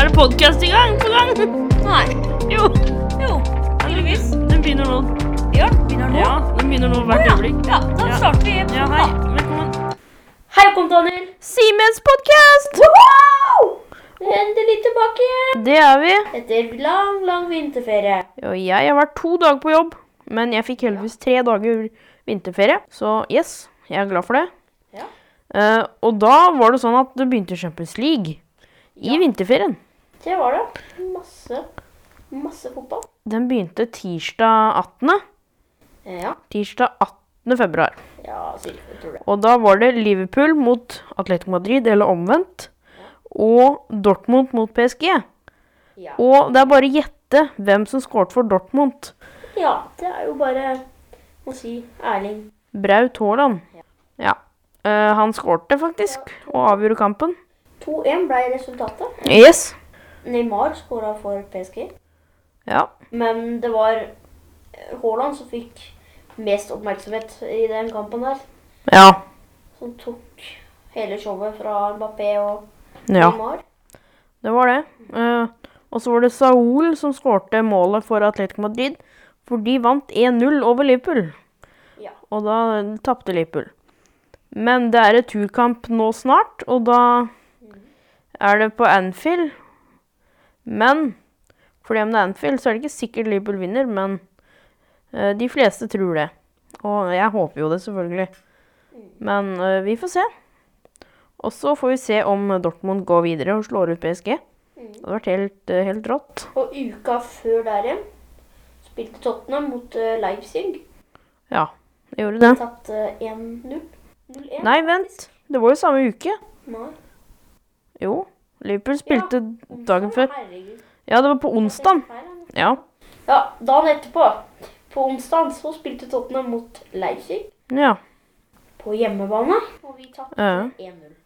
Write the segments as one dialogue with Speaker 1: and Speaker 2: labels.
Speaker 1: er podkast i gang på gang!
Speaker 2: Nei.
Speaker 1: Jo.
Speaker 2: Jo, tydeligvis.
Speaker 1: Den begynner nå.
Speaker 2: Ja, begynner nå.
Speaker 1: Ja, Ah. den begynner nå
Speaker 2: Å
Speaker 1: hvert
Speaker 2: ja.
Speaker 1: øyeblikk.
Speaker 2: ja, da
Speaker 1: Ja.
Speaker 2: starter vi.
Speaker 1: Ja, hei. Velkommen.
Speaker 3: Hei, kom Daniel.
Speaker 1: Simens podkast!
Speaker 3: Endelig tilbake igjen.
Speaker 1: Det er vi.
Speaker 3: Etter lang, lang vinterferie.
Speaker 1: Og jeg har vært to dager på jobb, men jeg fikk heldigvis tre dager vinterferie. Så yes, jeg er glad for det.
Speaker 3: Ja.
Speaker 1: Eh, og da var det sånn at det begynte Champions League i vinterferien.
Speaker 3: Det var det. Masse, masse fotball.
Speaker 1: Den begynte tirsdag 18.
Speaker 3: Ja,
Speaker 1: Tirsdag 18. februar.
Speaker 3: ja cirka, jeg tror det.
Speaker 1: Og da var det Liverpool mot Atletico Madrid, eller omvendt. Og Dortmund mot PSG.
Speaker 3: Ja.
Speaker 1: Og det er bare å gjette hvem som skåret for Dortmund.
Speaker 3: ja, det er jo bare må si Erling.
Speaker 1: Braut Haaland. Ja. Eh, han skårte faktisk, og avgjorde kampen.
Speaker 3: 2-1 ble resultatet.
Speaker 1: Yes.
Speaker 3: Neymar skåra for PSG.
Speaker 1: Ja.
Speaker 3: Men det var eh, Haaland som fikk mest oppmerksomhet i den kampen der.
Speaker 1: Ja.
Speaker 3: Som tok hele showet fra Mbappé og
Speaker 1: ja.
Speaker 3: Neymar.
Speaker 1: Det var det. Eh, og så var det Saul som skårte målet for Atletico Madrid. For de vant 1-0 over Liverpool.
Speaker 3: Ja.
Speaker 1: Og da eh, tapte Liverpool. Men det er returkamp nå snart, og da er det på Anfield. Men fordi om det er Anfield, så er det ikke sikkert Liverpool vinner, men eh, de fleste tror det. Og jeg håper jo det, selvfølgelig. Men eh, vi får se. Og så får vi se om Dortmund går videre og slår ut PSG.
Speaker 3: Mm.
Speaker 1: Det hadde vært helt, eh, helt rått.
Speaker 3: Og uka før der igjen spilte Tottenham mot eh, Leipzig.
Speaker 1: Ja, det gjorde det.
Speaker 3: Tapte eh, 1-0. 0-1.
Speaker 1: Nei, vent. Det var jo samme uke.
Speaker 3: Nei.
Speaker 1: Jo. Liverpool spilte dagen
Speaker 3: Onsdag,
Speaker 1: før.
Speaker 3: Herregud.
Speaker 1: Ja, det var på
Speaker 3: Jeg tenkte
Speaker 1: onsdag.
Speaker 3: feil, jeg.
Speaker 1: Ja.
Speaker 3: Ja, dagen etterpå, på onsdag, så spilte Tottenham mot Leipzig
Speaker 1: Ja.
Speaker 3: på hjemmebane. Og vi tapte
Speaker 1: Ja.
Speaker 3: 1-0.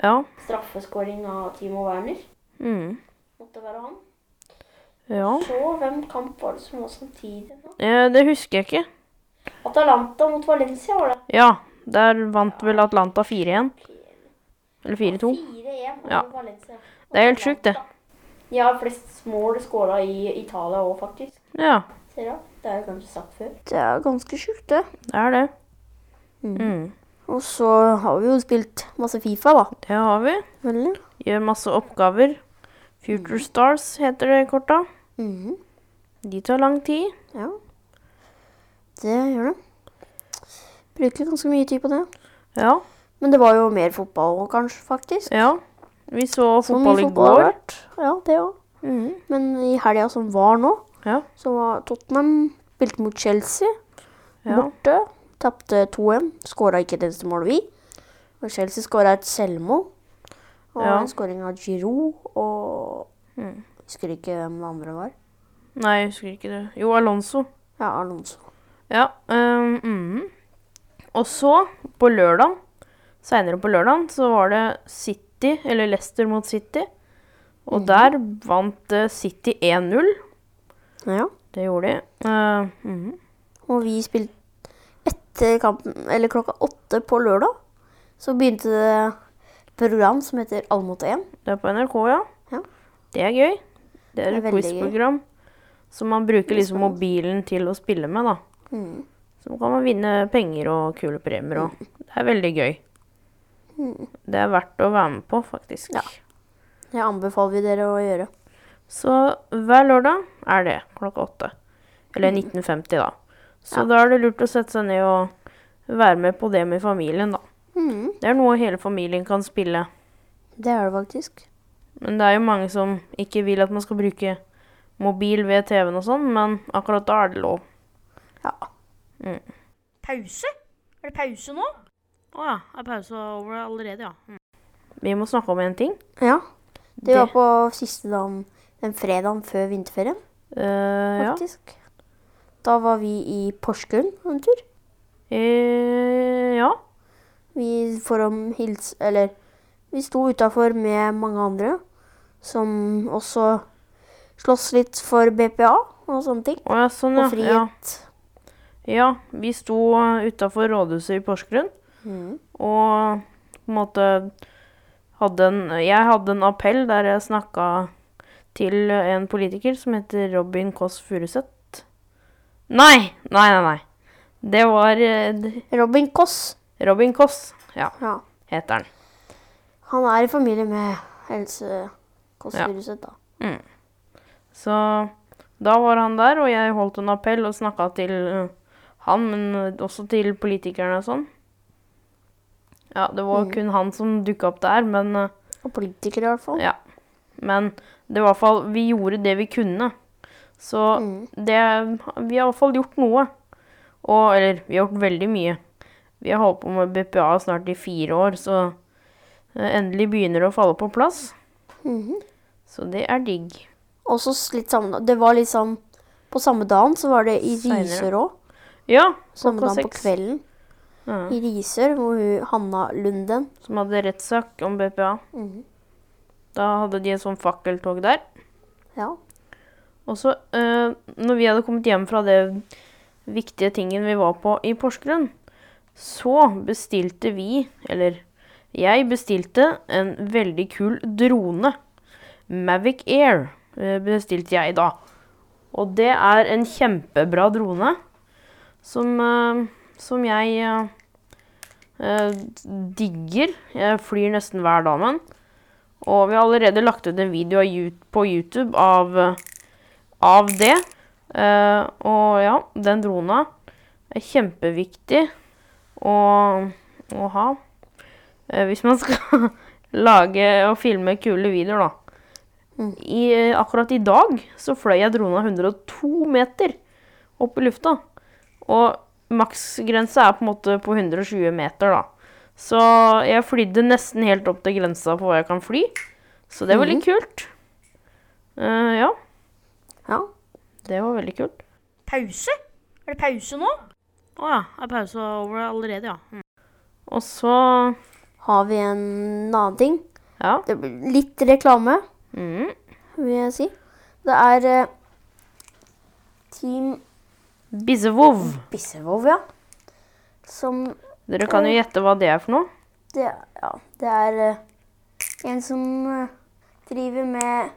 Speaker 1: Ja.
Speaker 3: Straffeskåring av Timo Werner
Speaker 1: Mm.
Speaker 3: måtte være han.
Speaker 1: ja.
Speaker 3: Så hvem kamp var det som var samtidig? nå?
Speaker 1: Eh, Det husker jeg ikke.
Speaker 3: Atalanta mot Valencia var det.
Speaker 1: Ja. Der vant vel Atlanta 4-1. Eller 4-2.
Speaker 3: 4-1 over
Speaker 1: Ja.
Speaker 3: Valencia.
Speaker 1: Det er helt sjukt, det.
Speaker 3: De har flest mål skåra i Italia òg, faktisk.
Speaker 1: Ja.
Speaker 3: Ser jeg. Det er jo kanskje sagt før.
Speaker 4: Det er ganske sjukt, det.
Speaker 1: Det er det. Mm.
Speaker 4: Og så har vi jo spilt masse Fifa, da.
Speaker 1: Det har vi.
Speaker 4: Veldig.
Speaker 1: Gjør masse oppgaver. Future Stars heter det korta. De tar lang tid.
Speaker 4: Mhm. Ja. Det gjør det. Bruker ganske mye tid på det.
Speaker 1: Ja.
Speaker 4: Men det var jo mer fotball, kanskje, faktisk.
Speaker 1: Ja. Vi så
Speaker 4: Så mye
Speaker 1: fotball i
Speaker 4: fotball har
Speaker 1: går.
Speaker 4: vært. Mm. Ja, det òg.
Speaker 1: Mhm.
Speaker 4: Men i helga som var nå,
Speaker 1: Ja.
Speaker 4: så var Tottenham spilte mot Chelsea
Speaker 1: Ja.
Speaker 4: borte. Tapte 2-1. Skåra ikke et eneste mål, vi. Og Chelsea skåra et selvmål. Og
Speaker 1: Ja.
Speaker 4: en skåring av Giroud og Husker ikke hvem det andre var.
Speaker 1: Nei, jeg husker ikke det. Jo, Alonso.
Speaker 4: Ja, Alonso.
Speaker 1: Ja. øhm, mhm. Og så, på lørdag, seinere på lørdag, så var det City, eller Leicester mot City. Og
Speaker 4: Mhm.
Speaker 1: der vant eh, City 1-0.
Speaker 4: Ja.
Speaker 1: Det gjorde de. Eh, mhm.
Speaker 4: Og vi spilte etter kampen, eller klokka åtte på lørdag, så begynte det et program som heter Alle mot én.
Speaker 1: Det er på NRK, ja.
Speaker 4: Ja.
Speaker 1: Det er gøy. Det er
Speaker 4: Det er
Speaker 1: et
Speaker 4: veldig
Speaker 1: quizprogram som man bruker liksom mobilen til å spille med, da.
Speaker 4: Mhm.
Speaker 1: Så kan man vinne penger og kule premier
Speaker 4: Mm.
Speaker 1: og Det er veldig gøy. Det er verdt å være med på, faktisk.
Speaker 4: Ja. Mm. Det anbefaler vi dere å gjøre.
Speaker 1: Så hver lørdag er det klokka åtte. Eller 19.50, da. Så da er det lurt å sette seg ned og være med på det med familien, da.
Speaker 4: Mhm.
Speaker 1: Det er noe hele familien kan spille.
Speaker 4: Det er det faktisk.
Speaker 1: Men det er jo mange som ikke vil at man skal bruke mobil ved TV-en og sånn, men akkurat da er det lov.
Speaker 4: Ja.
Speaker 2: Pause? Er det pause nå?
Speaker 1: Å ja, er pausa over allerede, ja? Vi må snakke om én ting.
Speaker 4: ja. Det,
Speaker 1: Det-
Speaker 4: var på siste dagen, den fredagen før vinterferien,
Speaker 1: Eh, ja.
Speaker 4: faktisk. Da var vi i Porsgrunn en tur.
Speaker 1: Eh, ja.
Speaker 4: Vi får om hils... Eller, vi sto utafor med mange andre som også slåss litt for BPA og sånne ting.
Speaker 1: Å ja, sånn,
Speaker 4: Og
Speaker 1: ja. ja.
Speaker 4: frihet.
Speaker 1: Ja, vi sto utafor rådhuset i Porsgrunn
Speaker 4: Mhm.
Speaker 1: og på en måte hadde en Jeg hadde en appell der jeg snakka til en politiker som heter Robin Kåss Furuseth. Nei! Nei, nei, nei. Det var eh,
Speaker 4: Robin Koss.
Speaker 1: Robin Kåss, ja,
Speaker 4: Ja.
Speaker 1: heter han.
Speaker 4: Han er i familie med Helse Kåss
Speaker 1: Ja.
Speaker 4: Furuseth, da.
Speaker 1: Så da var han der, og jeg holdt en appell og snakka til eh, han, men også til politikerne og sånn. Ja, det var kun han som dukka opp der, men eh,
Speaker 4: Og politiker, i hvert fall.
Speaker 1: Ja. Men det var i hvert fall Vi gjorde det vi kunne. Så
Speaker 4: Mm.
Speaker 1: det Vi har i hvert fall gjort noe. Og Eller, vi har gjort veldig mye. Vi har holdt på med BPA snart i fire år, så eh, endelig begynner det å falle på plass.
Speaker 4: Mhm.
Speaker 1: Så det er digg.
Speaker 4: Og så s- litt samme Det var litt sånn På samme dagen så var det i
Speaker 1: Senere.
Speaker 4: Risør òg.
Speaker 1: Ja,
Speaker 4: Samme
Speaker 1: klokka
Speaker 4: dagen på
Speaker 1: seks.
Speaker 4: kvelden.
Speaker 1: Ja.
Speaker 4: I Risør, hvor hun Hanna Lunden
Speaker 1: som hadde rettssak om BPA.
Speaker 4: Mhm.
Speaker 1: Da hadde de et sånn fakkeltog der.
Speaker 4: Ja.
Speaker 1: Og så, eh, når vi hadde kommet hjem fra det viktige tingen vi var på i Porsgrunn, så bestilte vi, eller jeg bestilte, en veldig kul drone. Mavic Air eh, bestilte jeg da. Og det er en kjempebra drone som, eh, som jeg eh, eh, digger. Jeg flyr nesten hver dag med den. Og vi har allerede lagt ut en video av Yout- på YouTube av eh, av det. Eh, og ja, den drona er kjempeviktig å, å ha. Eh, hvis man skal lage og filme kule videoer, da.
Speaker 4: Mm.
Speaker 1: I, eh, akkurat i dag så fløy jeg drona 102 meter opp i lufta. Og maksgrensa er på en måte på 120 meter, da. Så jeg flydde nesten helt opp til grensa på hva jeg kan fly. Så det var litt kult. Eh, ja.
Speaker 4: ja.
Speaker 1: Det var veldig kult.
Speaker 2: Pause? Er det pause nå?
Speaker 1: Å ja. Er pausa over allerede, ja? Mm. Og så
Speaker 4: Har vi en annen ting?
Speaker 1: Ja.
Speaker 4: Det blir litt reklame,
Speaker 1: Mm.
Speaker 4: vil jeg si. Det er eh, Team
Speaker 1: Bizzevov.
Speaker 4: Bissevov, ja. Som
Speaker 1: Dere kan jo gjette hva det er for noe.
Speaker 4: Det, ja, det er eh, en som eh, driver med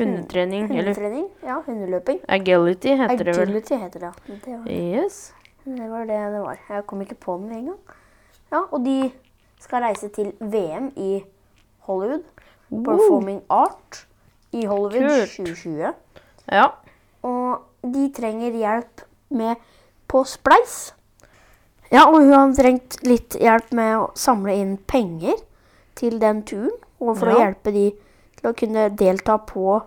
Speaker 1: Hundetrening. Eller
Speaker 4: hundetrening. Ja, hundeløping.
Speaker 1: agility heter det vel.
Speaker 4: Agility heter det. ja. Det var,
Speaker 1: Yes.
Speaker 4: det var det det var. Jeg kom ikke på den med en gang. Ja, og de skal reise til VM i Hollywood. Performing Art i Hollywood
Speaker 1: Kult.
Speaker 4: 2020.
Speaker 1: Ja.
Speaker 4: Og de trenger hjelp med på spleis. Ja, og hun har trengt litt hjelp med å samle inn penger til den turen. Og for å
Speaker 1: Ja.
Speaker 4: hjelpe de til å kunne delta på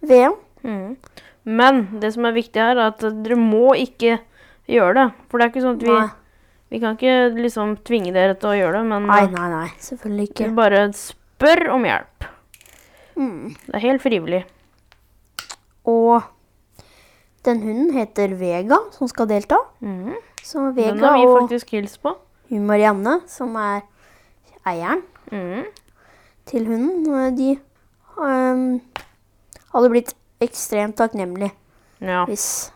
Speaker 4: VM.
Speaker 1: Mm. Men det som er viktig her, er at dere må ikke gjøre det. For det er ikke sånn at vi,
Speaker 4: Nei,
Speaker 1: vi kan ikke liksom tvinge dere til å gjøre det, men
Speaker 4: nei, nei, nei. Selvfølgelig
Speaker 1: vi
Speaker 4: ikke.
Speaker 1: bare spør om hjelp.
Speaker 4: Mm.
Speaker 1: Det er helt frivillig.
Speaker 4: Og den hunden heter Vega, som skal delta.
Speaker 1: Mm.
Speaker 4: Så
Speaker 1: Den
Speaker 4: Vega
Speaker 1: har vi
Speaker 4: og
Speaker 1: faktisk hilst på.
Speaker 4: hun Marianne, som er eieren
Speaker 1: Mm.
Speaker 4: til hunden, eh, de ehm, hadde blitt ekstremt takknemlige.
Speaker 1: Ja.
Speaker 4: hvis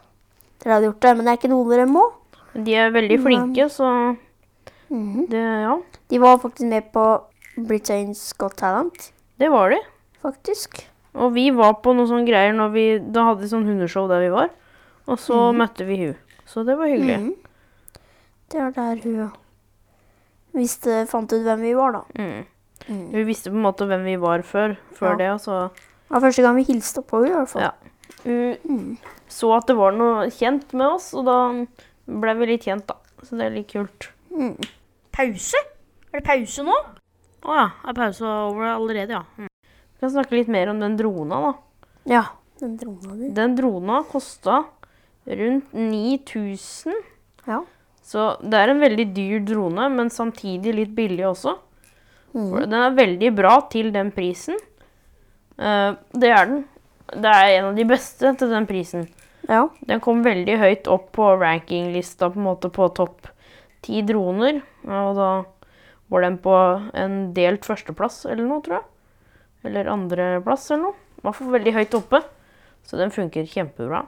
Speaker 4: dere hadde gjort det. Men det er ikke noe dere må.
Speaker 1: De er veldig flinke, så
Speaker 4: Mhm.
Speaker 1: det, ja,
Speaker 4: De var faktisk med på Britain's Got Talent,
Speaker 1: det var de.
Speaker 4: faktisk.
Speaker 1: Og vi var på noen sånne greier når vi, da hadde vi sånn hundeshow der vi var. Og så møtte vi hun. Så det var hyggelig.
Speaker 4: Mhm. Det var der hun visste, fant ut hvem vi var, da.
Speaker 1: Mm.
Speaker 4: Mhm.
Speaker 1: Hun visste på en måte hvem vi var før, før
Speaker 4: Ja.
Speaker 1: det, altså. og så
Speaker 4: Det var første gang vi hilste på henne, i hvert fall.
Speaker 1: Ja. hun så at det var noe kjent med oss, og da ble vi litt kjent, da. Så det er litt kult.
Speaker 4: Mhm.
Speaker 2: Pause? Er det pause nå?
Speaker 1: Å ja, er pausa over allerede, ja? Mm. Vi kan snakke litt mer om den drona, da.
Speaker 4: ja. Den drona di.
Speaker 1: Den drona kosta rundt 9000.
Speaker 4: Ja.
Speaker 1: Så det er en veldig dyr drone, men samtidig litt billig også.
Speaker 4: Mm.
Speaker 1: For den er veldig bra til den prisen. Eh, det er den. Det er en av de beste til den prisen.
Speaker 4: ja.
Speaker 1: Den kom veldig høyt opp på rankinglista på en måte på topp ti droner. Og da var den på en delt førsteplass eller noe, tror jeg. Eller andreplass eller noe. I hvert fall veldig høyt oppe. Så den funker kjempebra.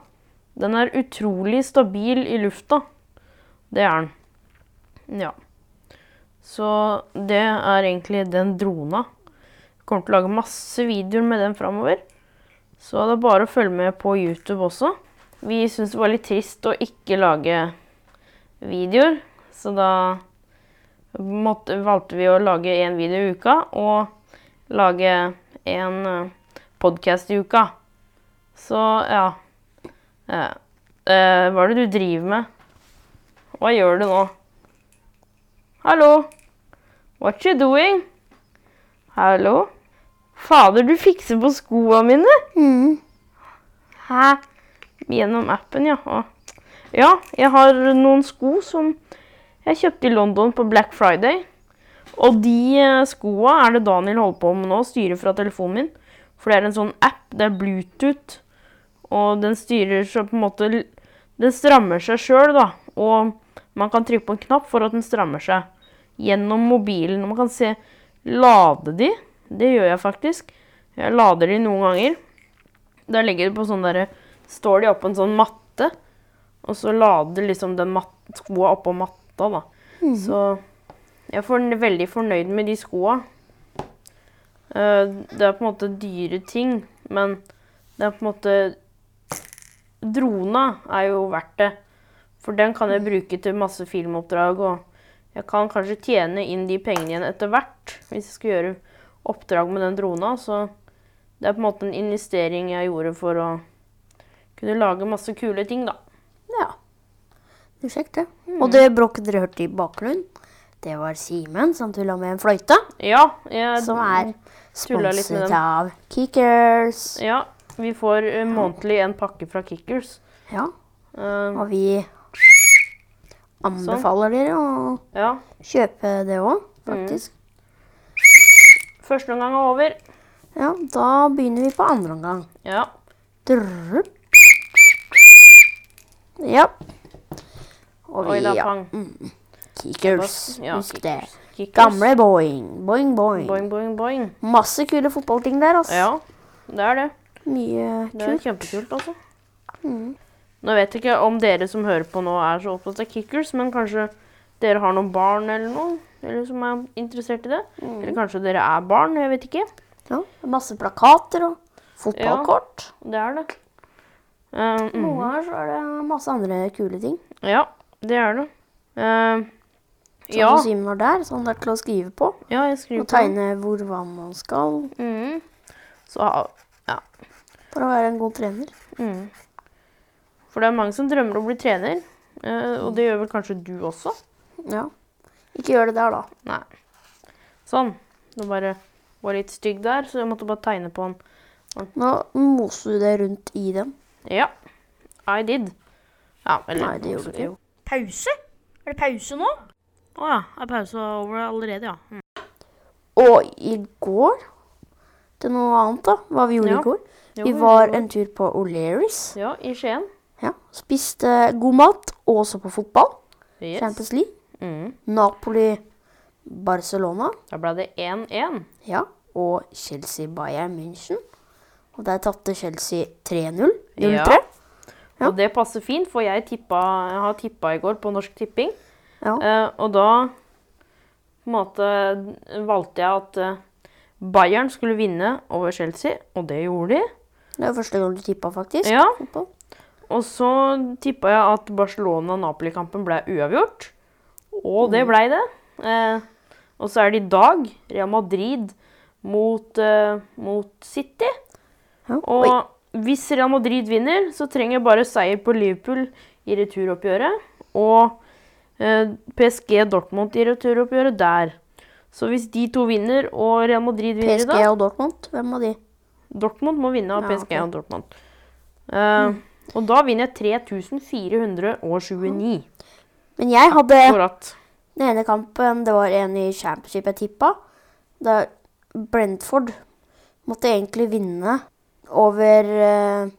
Speaker 1: Den er utrolig stabil i lufta. Det er den. Ja. Så det er egentlig den drona. Jeg kommer til å lage masse videoer med den framover. Så det er bare å følge med på YouTube også. Vi syntes det var litt trist å ikke lage videoer, så da måtte, valgte vi å lage én video i uka og lage en podkast i uka. Så ja Eh, eh, Hva er det du driver med? Hva gjør du nå? Hallo? What you doing? Hallo? Fader, du fikser på skoene mine!
Speaker 4: Mm.
Speaker 1: Hæ? Gjennom appen, ja. Å. Ja, jeg har noen sko som jeg kjøpte i London på Black Friday. Og de eh, skoa er det Daniel holder på med nå, styrer fra telefonen min. For det er en sånn app, det er Bluetooth, og den styrer så på en måte l- Den strammer seg sjøl, da. Og man kan trykke på en knapp for at den strammer seg gjennom mobilen. Og man kan se Lade de. Det gjør jeg faktisk. Jeg lader de noen ganger. Da legger de på sånn derre Står de oppå en sånn matte, og så lader liksom den mat skoa oppå matta, da. Så jeg er forn- veldig fornøyd med de skoa. Eh, Det er på en måte dyre ting, men det er på en måte Drona er jo verdt det. For den kan jeg bruke til masse filmoppdrag, og jeg kan kanskje tjene inn de pengene igjen etter hvert, hvis jeg skal gjøre oppdrag med den drona. Så det er på en måte en investering jeg gjorde for å kunne lage masse kule ting, da.
Speaker 4: Ja. Det er kjekt, det.
Speaker 1: Mm.
Speaker 4: Og det bråket dere hørte i bakgrunnen, det var Simen som tulla med en fløyte.
Speaker 1: Ja, jeg,
Speaker 4: Som er
Speaker 1: Tulla litt med
Speaker 4: sponset
Speaker 1: den.
Speaker 4: av Kickers.
Speaker 1: Ja, vi får eh, månedlig en pakke fra Kickers.
Speaker 4: Ja,
Speaker 1: Eh,
Speaker 4: og vi
Speaker 1: Sånn.
Speaker 4: anbefaler dere å
Speaker 1: ja.
Speaker 4: kjøpe det òg, faktisk.
Speaker 1: Første omgang er over. Mm.
Speaker 4: Ja, da begynner vi på andre omgang.
Speaker 1: Ja.
Speaker 4: Drrrr. Ja. Og
Speaker 1: Oi
Speaker 4: vi
Speaker 1: da,
Speaker 4: ja,
Speaker 1: pang.
Speaker 4: Kickers.
Speaker 1: Ja,
Speaker 4: Husk det.
Speaker 1: Kickers.
Speaker 4: Gamle Boing. Boing, boing.
Speaker 1: Boing, boing, boing.
Speaker 4: Masse kule fotballting der, altså.
Speaker 1: Ja, det er det.
Speaker 4: Mye Mm.
Speaker 1: Det er
Speaker 4: kult.
Speaker 1: kjempekult, altså. Nå vet jeg ikke om dere som hører på nå, er så opptatt av kickers, men kanskje dere har noen barn eller noe eller som er interessert i det.
Speaker 4: Mm.
Speaker 1: Eller kanskje dere er barn, jeg vet ikke.
Speaker 4: Ja. Masse plakater og fotballkort.
Speaker 1: Det er det. Eh, mm.
Speaker 4: Noen ganger så er det masse andre kule ting.
Speaker 1: Ja, det er det. Eh,
Speaker 4: Sånn
Speaker 1: ja.
Speaker 4: som Simen var der, sånn der til å skrive på.
Speaker 1: ja, jeg skriver
Speaker 4: Og tegne hvor hva man skal
Speaker 1: Mm. Så, ha-
Speaker 4: for å være en god trener.
Speaker 1: mm. For det er mange som drømmer om å bli trener, eh, og det gjør vel kanskje du også?
Speaker 4: Ja. Ikke gjør det der, da.
Speaker 1: Nei. Sånn. Det bare var litt stygg der, så jeg måtte bare tegne på den.
Speaker 4: Nå moser du det rundt i den.
Speaker 1: Ja. I did. Ja, eller
Speaker 4: Nei, det gjorde du ikke.
Speaker 1: Jo.
Speaker 2: Pause? Er det pause nå?
Speaker 1: Å ja. Er pausen over allerede, ja? Mm.
Speaker 4: Og i går til noe annet, da. Hva vi gjorde
Speaker 1: Ja.
Speaker 4: i går.
Speaker 1: Jo,
Speaker 4: Vi
Speaker 1: jo,
Speaker 4: var
Speaker 1: jo.
Speaker 4: en tur på O'Learys.
Speaker 1: Ja, i Skien.
Speaker 4: Ja. Spiste god mat, og så på fotball.
Speaker 1: Yes.
Speaker 4: Champions League.
Speaker 1: Mm.
Speaker 4: Napoli-Barcelona.
Speaker 1: Da ble det 1-1.
Speaker 4: Ja. Og Chelsea-Bayern München. Og der tapte Chelsea 3-0. 0-3.
Speaker 1: Ja.
Speaker 4: Ja.
Speaker 1: Og det passer fint, for jeg, tippa, jeg har tippa i går på Norsk Tipping.
Speaker 4: Ja.
Speaker 1: Eh, og da på en måte, valgte jeg at eh, Bayern skulle vinne over Chelsea, og det gjorde de.
Speaker 4: Det er jo første gang du tippa, faktisk.
Speaker 1: Ja.
Speaker 4: Fotball.
Speaker 1: Og så tippa jeg at Barcelona-Napoli-kampen ble uavgjort, og
Speaker 4: Mm.
Speaker 1: det blei det. Eh, og så er det i dag Real Madrid mot, eh, mot City.
Speaker 4: Ja.
Speaker 1: Og
Speaker 4: Oi.
Speaker 1: hvis Real Madrid vinner, så trenger jeg bare seier på Liverpool i returoppgjøret. Og eh, PSG Dortmund i returoppgjøret der. Så hvis de to vinner og Real Madrid vinner
Speaker 4: PSG
Speaker 1: da
Speaker 4: og Dortmund, hvem av de?
Speaker 1: Dortmund må vinne av
Speaker 4: Ja,
Speaker 1: PSG
Speaker 4: Ah, ok.
Speaker 1: og Dortmund. Eh, Og da vinner jeg 3429.
Speaker 4: Men jeg hadde
Speaker 1: Akkurat.
Speaker 4: den ene kampen, det var en i championship jeg tippa. Der Brentford måtte egentlig vinne over eh,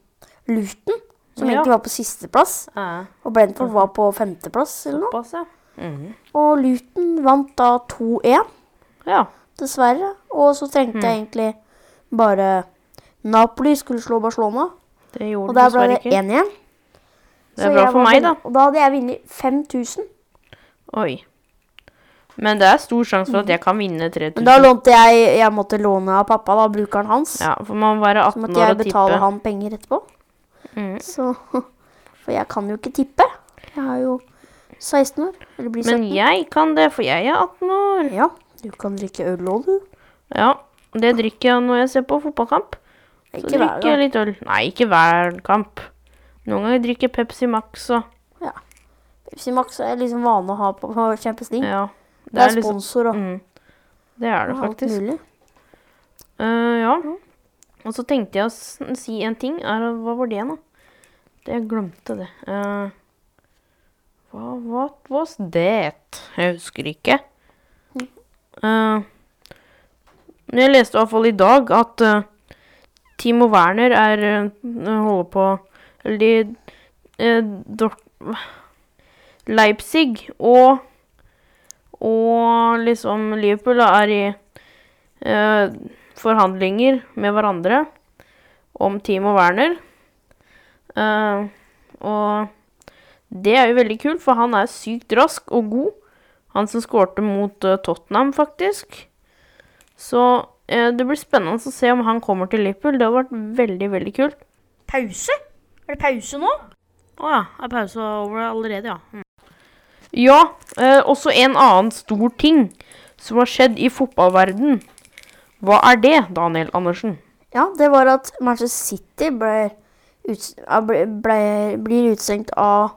Speaker 4: Luton, som
Speaker 1: Ja.
Speaker 4: egentlig var på sisteplass.
Speaker 1: Eh,
Speaker 4: Og Brentford var på femteplass eller noe.
Speaker 1: pass, ja.
Speaker 4: Mhm. Og Luton vant da 2-1,
Speaker 1: ja.
Speaker 4: dessverre. Og så
Speaker 1: Mm.
Speaker 4: trengte jeg egentlig bare Napoli skulle slå Barcelona,
Speaker 1: Det gjorde du
Speaker 4: og der ble
Speaker 1: dessverre
Speaker 4: det
Speaker 1: ikke.
Speaker 4: 1 igjen.
Speaker 1: Det er bra for meg, da.
Speaker 4: Og da hadde jeg vunnet 5000.
Speaker 1: Oi. Men det er stor sjanse for at jeg kan vinne 3000.
Speaker 4: Men da lånte jeg Jeg måtte låne av pappa, da, brukeren hans.
Speaker 1: Ja, for man må være
Speaker 4: så
Speaker 1: 18
Speaker 4: måtte
Speaker 1: år
Speaker 4: jeg
Speaker 1: og
Speaker 4: betale
Speaker 1: tippe.
Speaker 4: han penger etterpå.
Speaker 1: Mm.
Speaker 4: Så For jeg kan jo ikke tippe. Jeg er jo 16 år. Eller blir 17.
Speaker 1: Men jeg kan det, for jeg er 18 år.
Speaker 4: Ja, du kan drikke øl òg, du.
Speaker 1: Ja, det drikker jeg når jeg ser på fotballkamp. Så
Speaker 4: Ikke hver
Speaker 1: drikker jeg
Speaker 4: gang.
Speaker 1: litt øl. Nei, ikke hver kamp. Noen ganger drikker jeg Pepsi Max og
Speaker 4: Pepsi Max er liksom vane å ha på på Champions League.
Speaker 1: Ja.
Speaker 4: Mm. Det er sponsor og
Speaker 1: mm, Det er det
Speaker 4: alt
Speaker 1: faktisk.
Speaker 4: mulig.
Speaker 1: Eh, ja. Og så tenkte jeg å s- si en ting. Er, hva var det, da? Det, jeg glemte det. Eh, hva hva was that? Jeg husker ikke. Eh, men jeg leste i hvert fall i dag at eh, Timo Werner er eh, holder på Eller de eh, Dort- Leipzig og og liksom Liverpool da, er i eh, forhandlinger med hverandre om Timo Werner. Eh, og det er jo veldig kult, for han er sykt rask og god. Han som skårte mot eh, Tottenham, faktisk. Så eh, det blir spennende å se om han kommer til Liverpool. Det hadde vært veldig, veldig kult.
Speaker 2: Pause? Er det pause nå?
Speaker 1: Å ja, er pausen over allerede, ja? Mm. Ja, eh, også en annen stor ting som har skjedd i fotballverden. Hva er det, Daniel Andersen?
Speaker 4: Ja, det var at Manchester City ble, uts- ja, ble, ble, blir utstengt av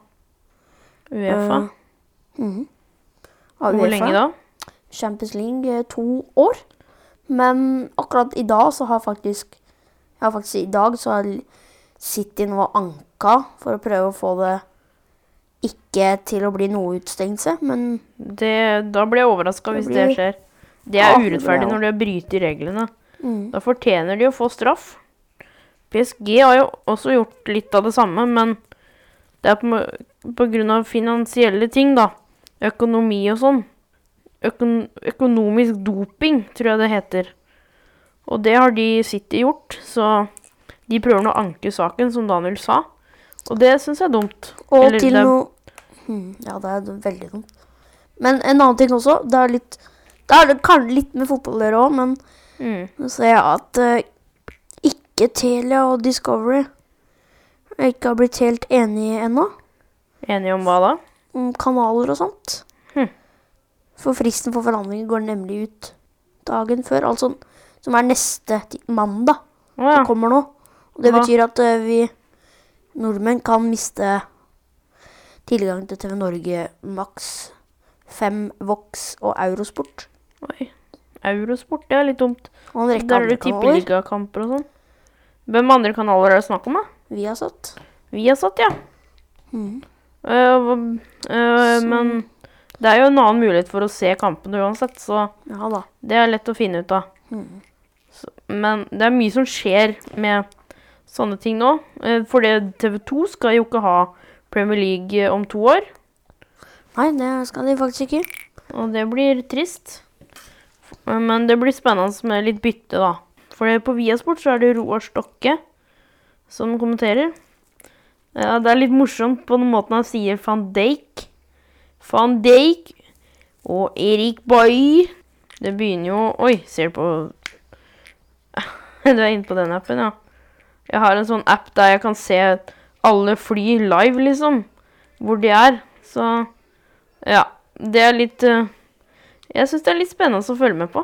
Speaker 1: Uefa?
Speaker 4: Eh, mhm. Av
Speaker 1: Hvor
Speaker 4: UEFA.
Speaker 1: lenge da?
Speaker 4: Champions League eh, to år. Men akkurat i dag så har faktisk Ja, faktisk i dag så har City nå anka for å prøve å få det ikke til å bli noe utstengelse, men
Speaker 1: Det, da blir jeg overraska
Speaker 4: Det
Speaker 1: hvis det
Speaker 4: blir-
Speaker 1: skjer. Det er
Speaker 4: Ja, det blir
Speaker 1: urettferdig
Speaker 4: jeg
Speaker 1: når de bryter reglene.
Speaker 4: mm,
Speaker 1: Da fortjener de å få straff. PSG har jo også gjort litt av det samme, men det er på, må- på grunn av finansielle ting, da. Økonomi og sånn. Økon, økonomisk doping, tror jeg det heter. Og det har de City gjort, så de prøver nå å anke saken, som Daniel sa. Og det syns jeg er dumt.
Speaker 4: Og
Speaker 1: Eller
Speaker 4: til
Speaker 1: det er-
Speaker 4: noe mm, Ja, det er veldig dumt. Men en annen ting også. Det er litt Det er kanskje litt med fotball å gjøre òg, men
Speaker 1: Mm.
Speaker 4: Nå ser jeg at eh, ikke Telia og Discovery ikke har blitt helt enige ennå.
Speaker 1: Enige om hva da?
Speaker 4: Om mm, kanaler og sånt.
Speaker 1: Hm.
Speaker 4: For fristen for forhandlinger går nemlig ut dagen før, altså som er neste ti- mandag.
Speaker 1: Å
Speaker 4: Det
Speaker 1: ja.
Speaker 4: kommer nå. Og det
Speaker 1: Hva?
Speaker 4: betyr at eh, vi nordmenn kan miste tilgang til TV Norge Max, 5 Vox og Eurosport.
Speaker 1: Oi. Eurosport, det er litt dumt.
Speaker 4: Og en rekke
Speaker 1: Der er
Speaker 4: andre
Speaker 1: det
Speaker 4: kanaler
Speaker 1: tippeligakamper og sånn. Hvem andre kanaler er det snakk om, da?
Speaker 4: vi har satt.
Speaker 1: Vi har satt, ja.
Speaker 4: Mhm.
Speaker 1: Eh, hva- eh, men det er jo en annen mulighet for å se kampene uansett, så
Speaker 4: Ja da. Hm.
Speaker 1: det er lett å finne ut av. Så, men det er mye som skjer med sånne ting nå. Eh, for det TV 2 skal jo ikke ha Premier League eh, om to år,
Speaker 4: Nei, det skal de faktisk ikke.
Speaker 1: og det blir trist. Eh, Men det blir spennende med litt bytte, da. For det- på Viasport så er det Roar Stokke som kommenterer. Ja, det er litt morsomt på den måten han sier van Dijk. Van Dijk og Erik Bailly. Det begynner jo Oi, ser du på Du er inne på den appen, ja. Jeg har en sånn app der jeg kan se alle fly live, liksom. Hvor de er. Så ja. Det er litt eh, Jeg syns det er litt spennende å følge med på.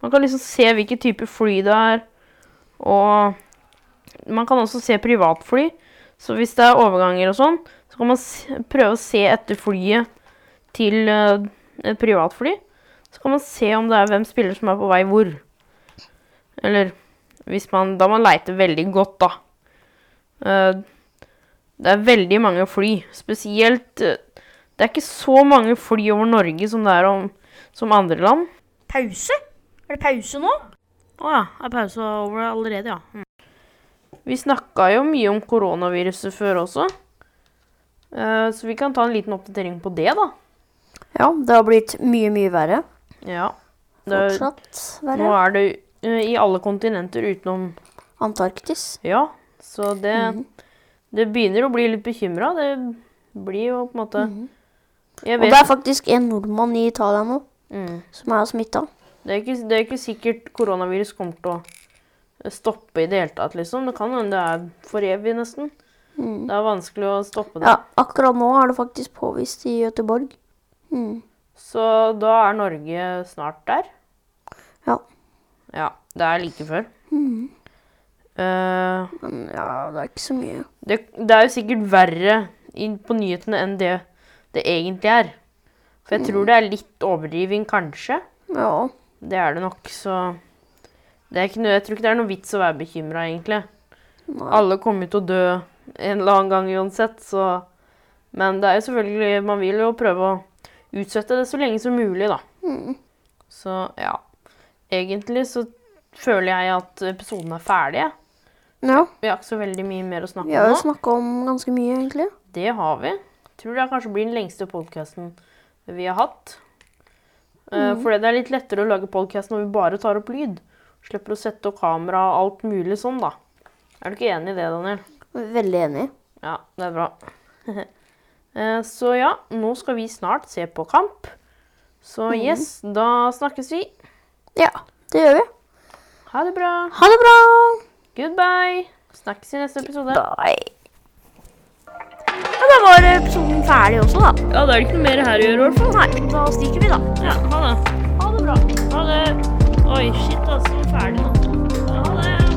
Speaker 1: Man kan liksom se hvilke typer fly det er, og man kan også se privatfly. Så hvis det er overganger og sånn, så kan man s prøve å se etter flyet til eh, et privatfly. Så kan man se om det er hvem spiller som er på vei hvor. Eller hvis man Da må man leite veldig godt, da. Eh, det er veldig mange fly. Spesielt eh, Det er ikke så mange fly over Norge som det er om, som andre land.
Speaker 2: Pause? Er det pause nå?
Speaker 1: Å ja, er pausa over allerede, ja. Mm. Vi snakka jo mye om koronaviruset før også. Eh, Så vi kan ta en liten oppdatering på det, da.
Speaker 4: Ja, det har blitt mye, mye verre.
Speaker 1: Ja. Det,
Speaker 4: Fortsatt
Speaker 1: nå
Speaker 4: verre.
Speaker 1: er det eh, i alle kontinenter utenom
Speaker 4: Antarktis.
Speaker 1: Ja. Så det,
Speaker 2: Mhm.
Speaker 1: det begynner å bli litt
Speaker 2: Mm.
Speaker 1: bekymra. Det blir jo på en måte Jeg
Speaker 4: Og
Speaker 1: vet Mm.
Speaker 4: det er faktisk en nordmann i Italia nå. som er smitta.
Speaker 1: Det er, ikke, det er ikke sikkert koronavirus kommer til å stoppe i det hele tatt, liksom. Det kan hende det er for evig, nesten. Det er vanskelig å stoppe det.
Speaker 4: Mm. Ja, akkurat nå er det faktisk påvist i Gøteborg. Mm.
Speaker 1: Så da er Norge snart der.
Speaker 4: Ja. Mm-hmm.
Speaker 1: Ja, det er like før. Eh,
Speaker 4: Men ja, det er ikke så mye.
Speaker 1: det, det er jo sikkert verre i, på nyhetene enn det det egentlig er. For jeg
Speaker 4: Mm.
Speaker 1: tror det er litt overdriving, kanskje.
Speaker 4: Ja.
Speaker 1: Det er det nok, så det er ikke noe, Jeg tror ikke det er noe vits å være bekymra, egentlig.
Speaker 4: Nei.
Speaker 1: Alle kommer jo til å dø en eller annen gang uansett, så Men det er jo selvfølgelig Man vil jo prøve å utsette det så lenge som mulig, da.
Speaker 4: Mm.
Speaker 1: Så ja. Egentlig så føler jeg at episoden er ferdig. jeg.
Speaker 4: ja.
Speaker 1: Vi har ikke så veldig mye mer å snakke
Speaker 4: Vi har
Speaker 1: om
Speaker 4: jo
Speaker 1: nå.
Speaker 4: snakka om ganske mye, egentlig.
Speaker 1: Det har vi. Tror det kanskje blir den lengste podkasten vi har hatt. Eh,
Speaker 4: Mm.
Speaker 1: Fordi det er litt lettere å lage podkast når vi bare tar opp lyd. Slipper å sette opp kamera og alt mulig sånn, da. Er du ikke enig i det, Daniel?
Speaker 4: Veldig enig.
Speaker 1: Ja, det er bra. Eh, Så ja, nå skal vi snart se på kamp. Så yes, da snakkes vi.
Speaker 4: Ja, det gjør vi.
Speaker 1: Ha det bra.
Speaker 4: Ha det bra!
Speaker 1: Goodbye. Snakkes i neste episode.
Speaker 4: Bye. Ja, da var episoden ferdig også, da.
Speaker 1: Ja, da er det ikke noe mer her å gjøre, i hvert fall.
Speaker 4: Nei, da stikker vi, da.
Speaker 1: Ja, ha det. Ha det bra. Ha det. Oi, shit, altså. Ferdig nå. Ha det.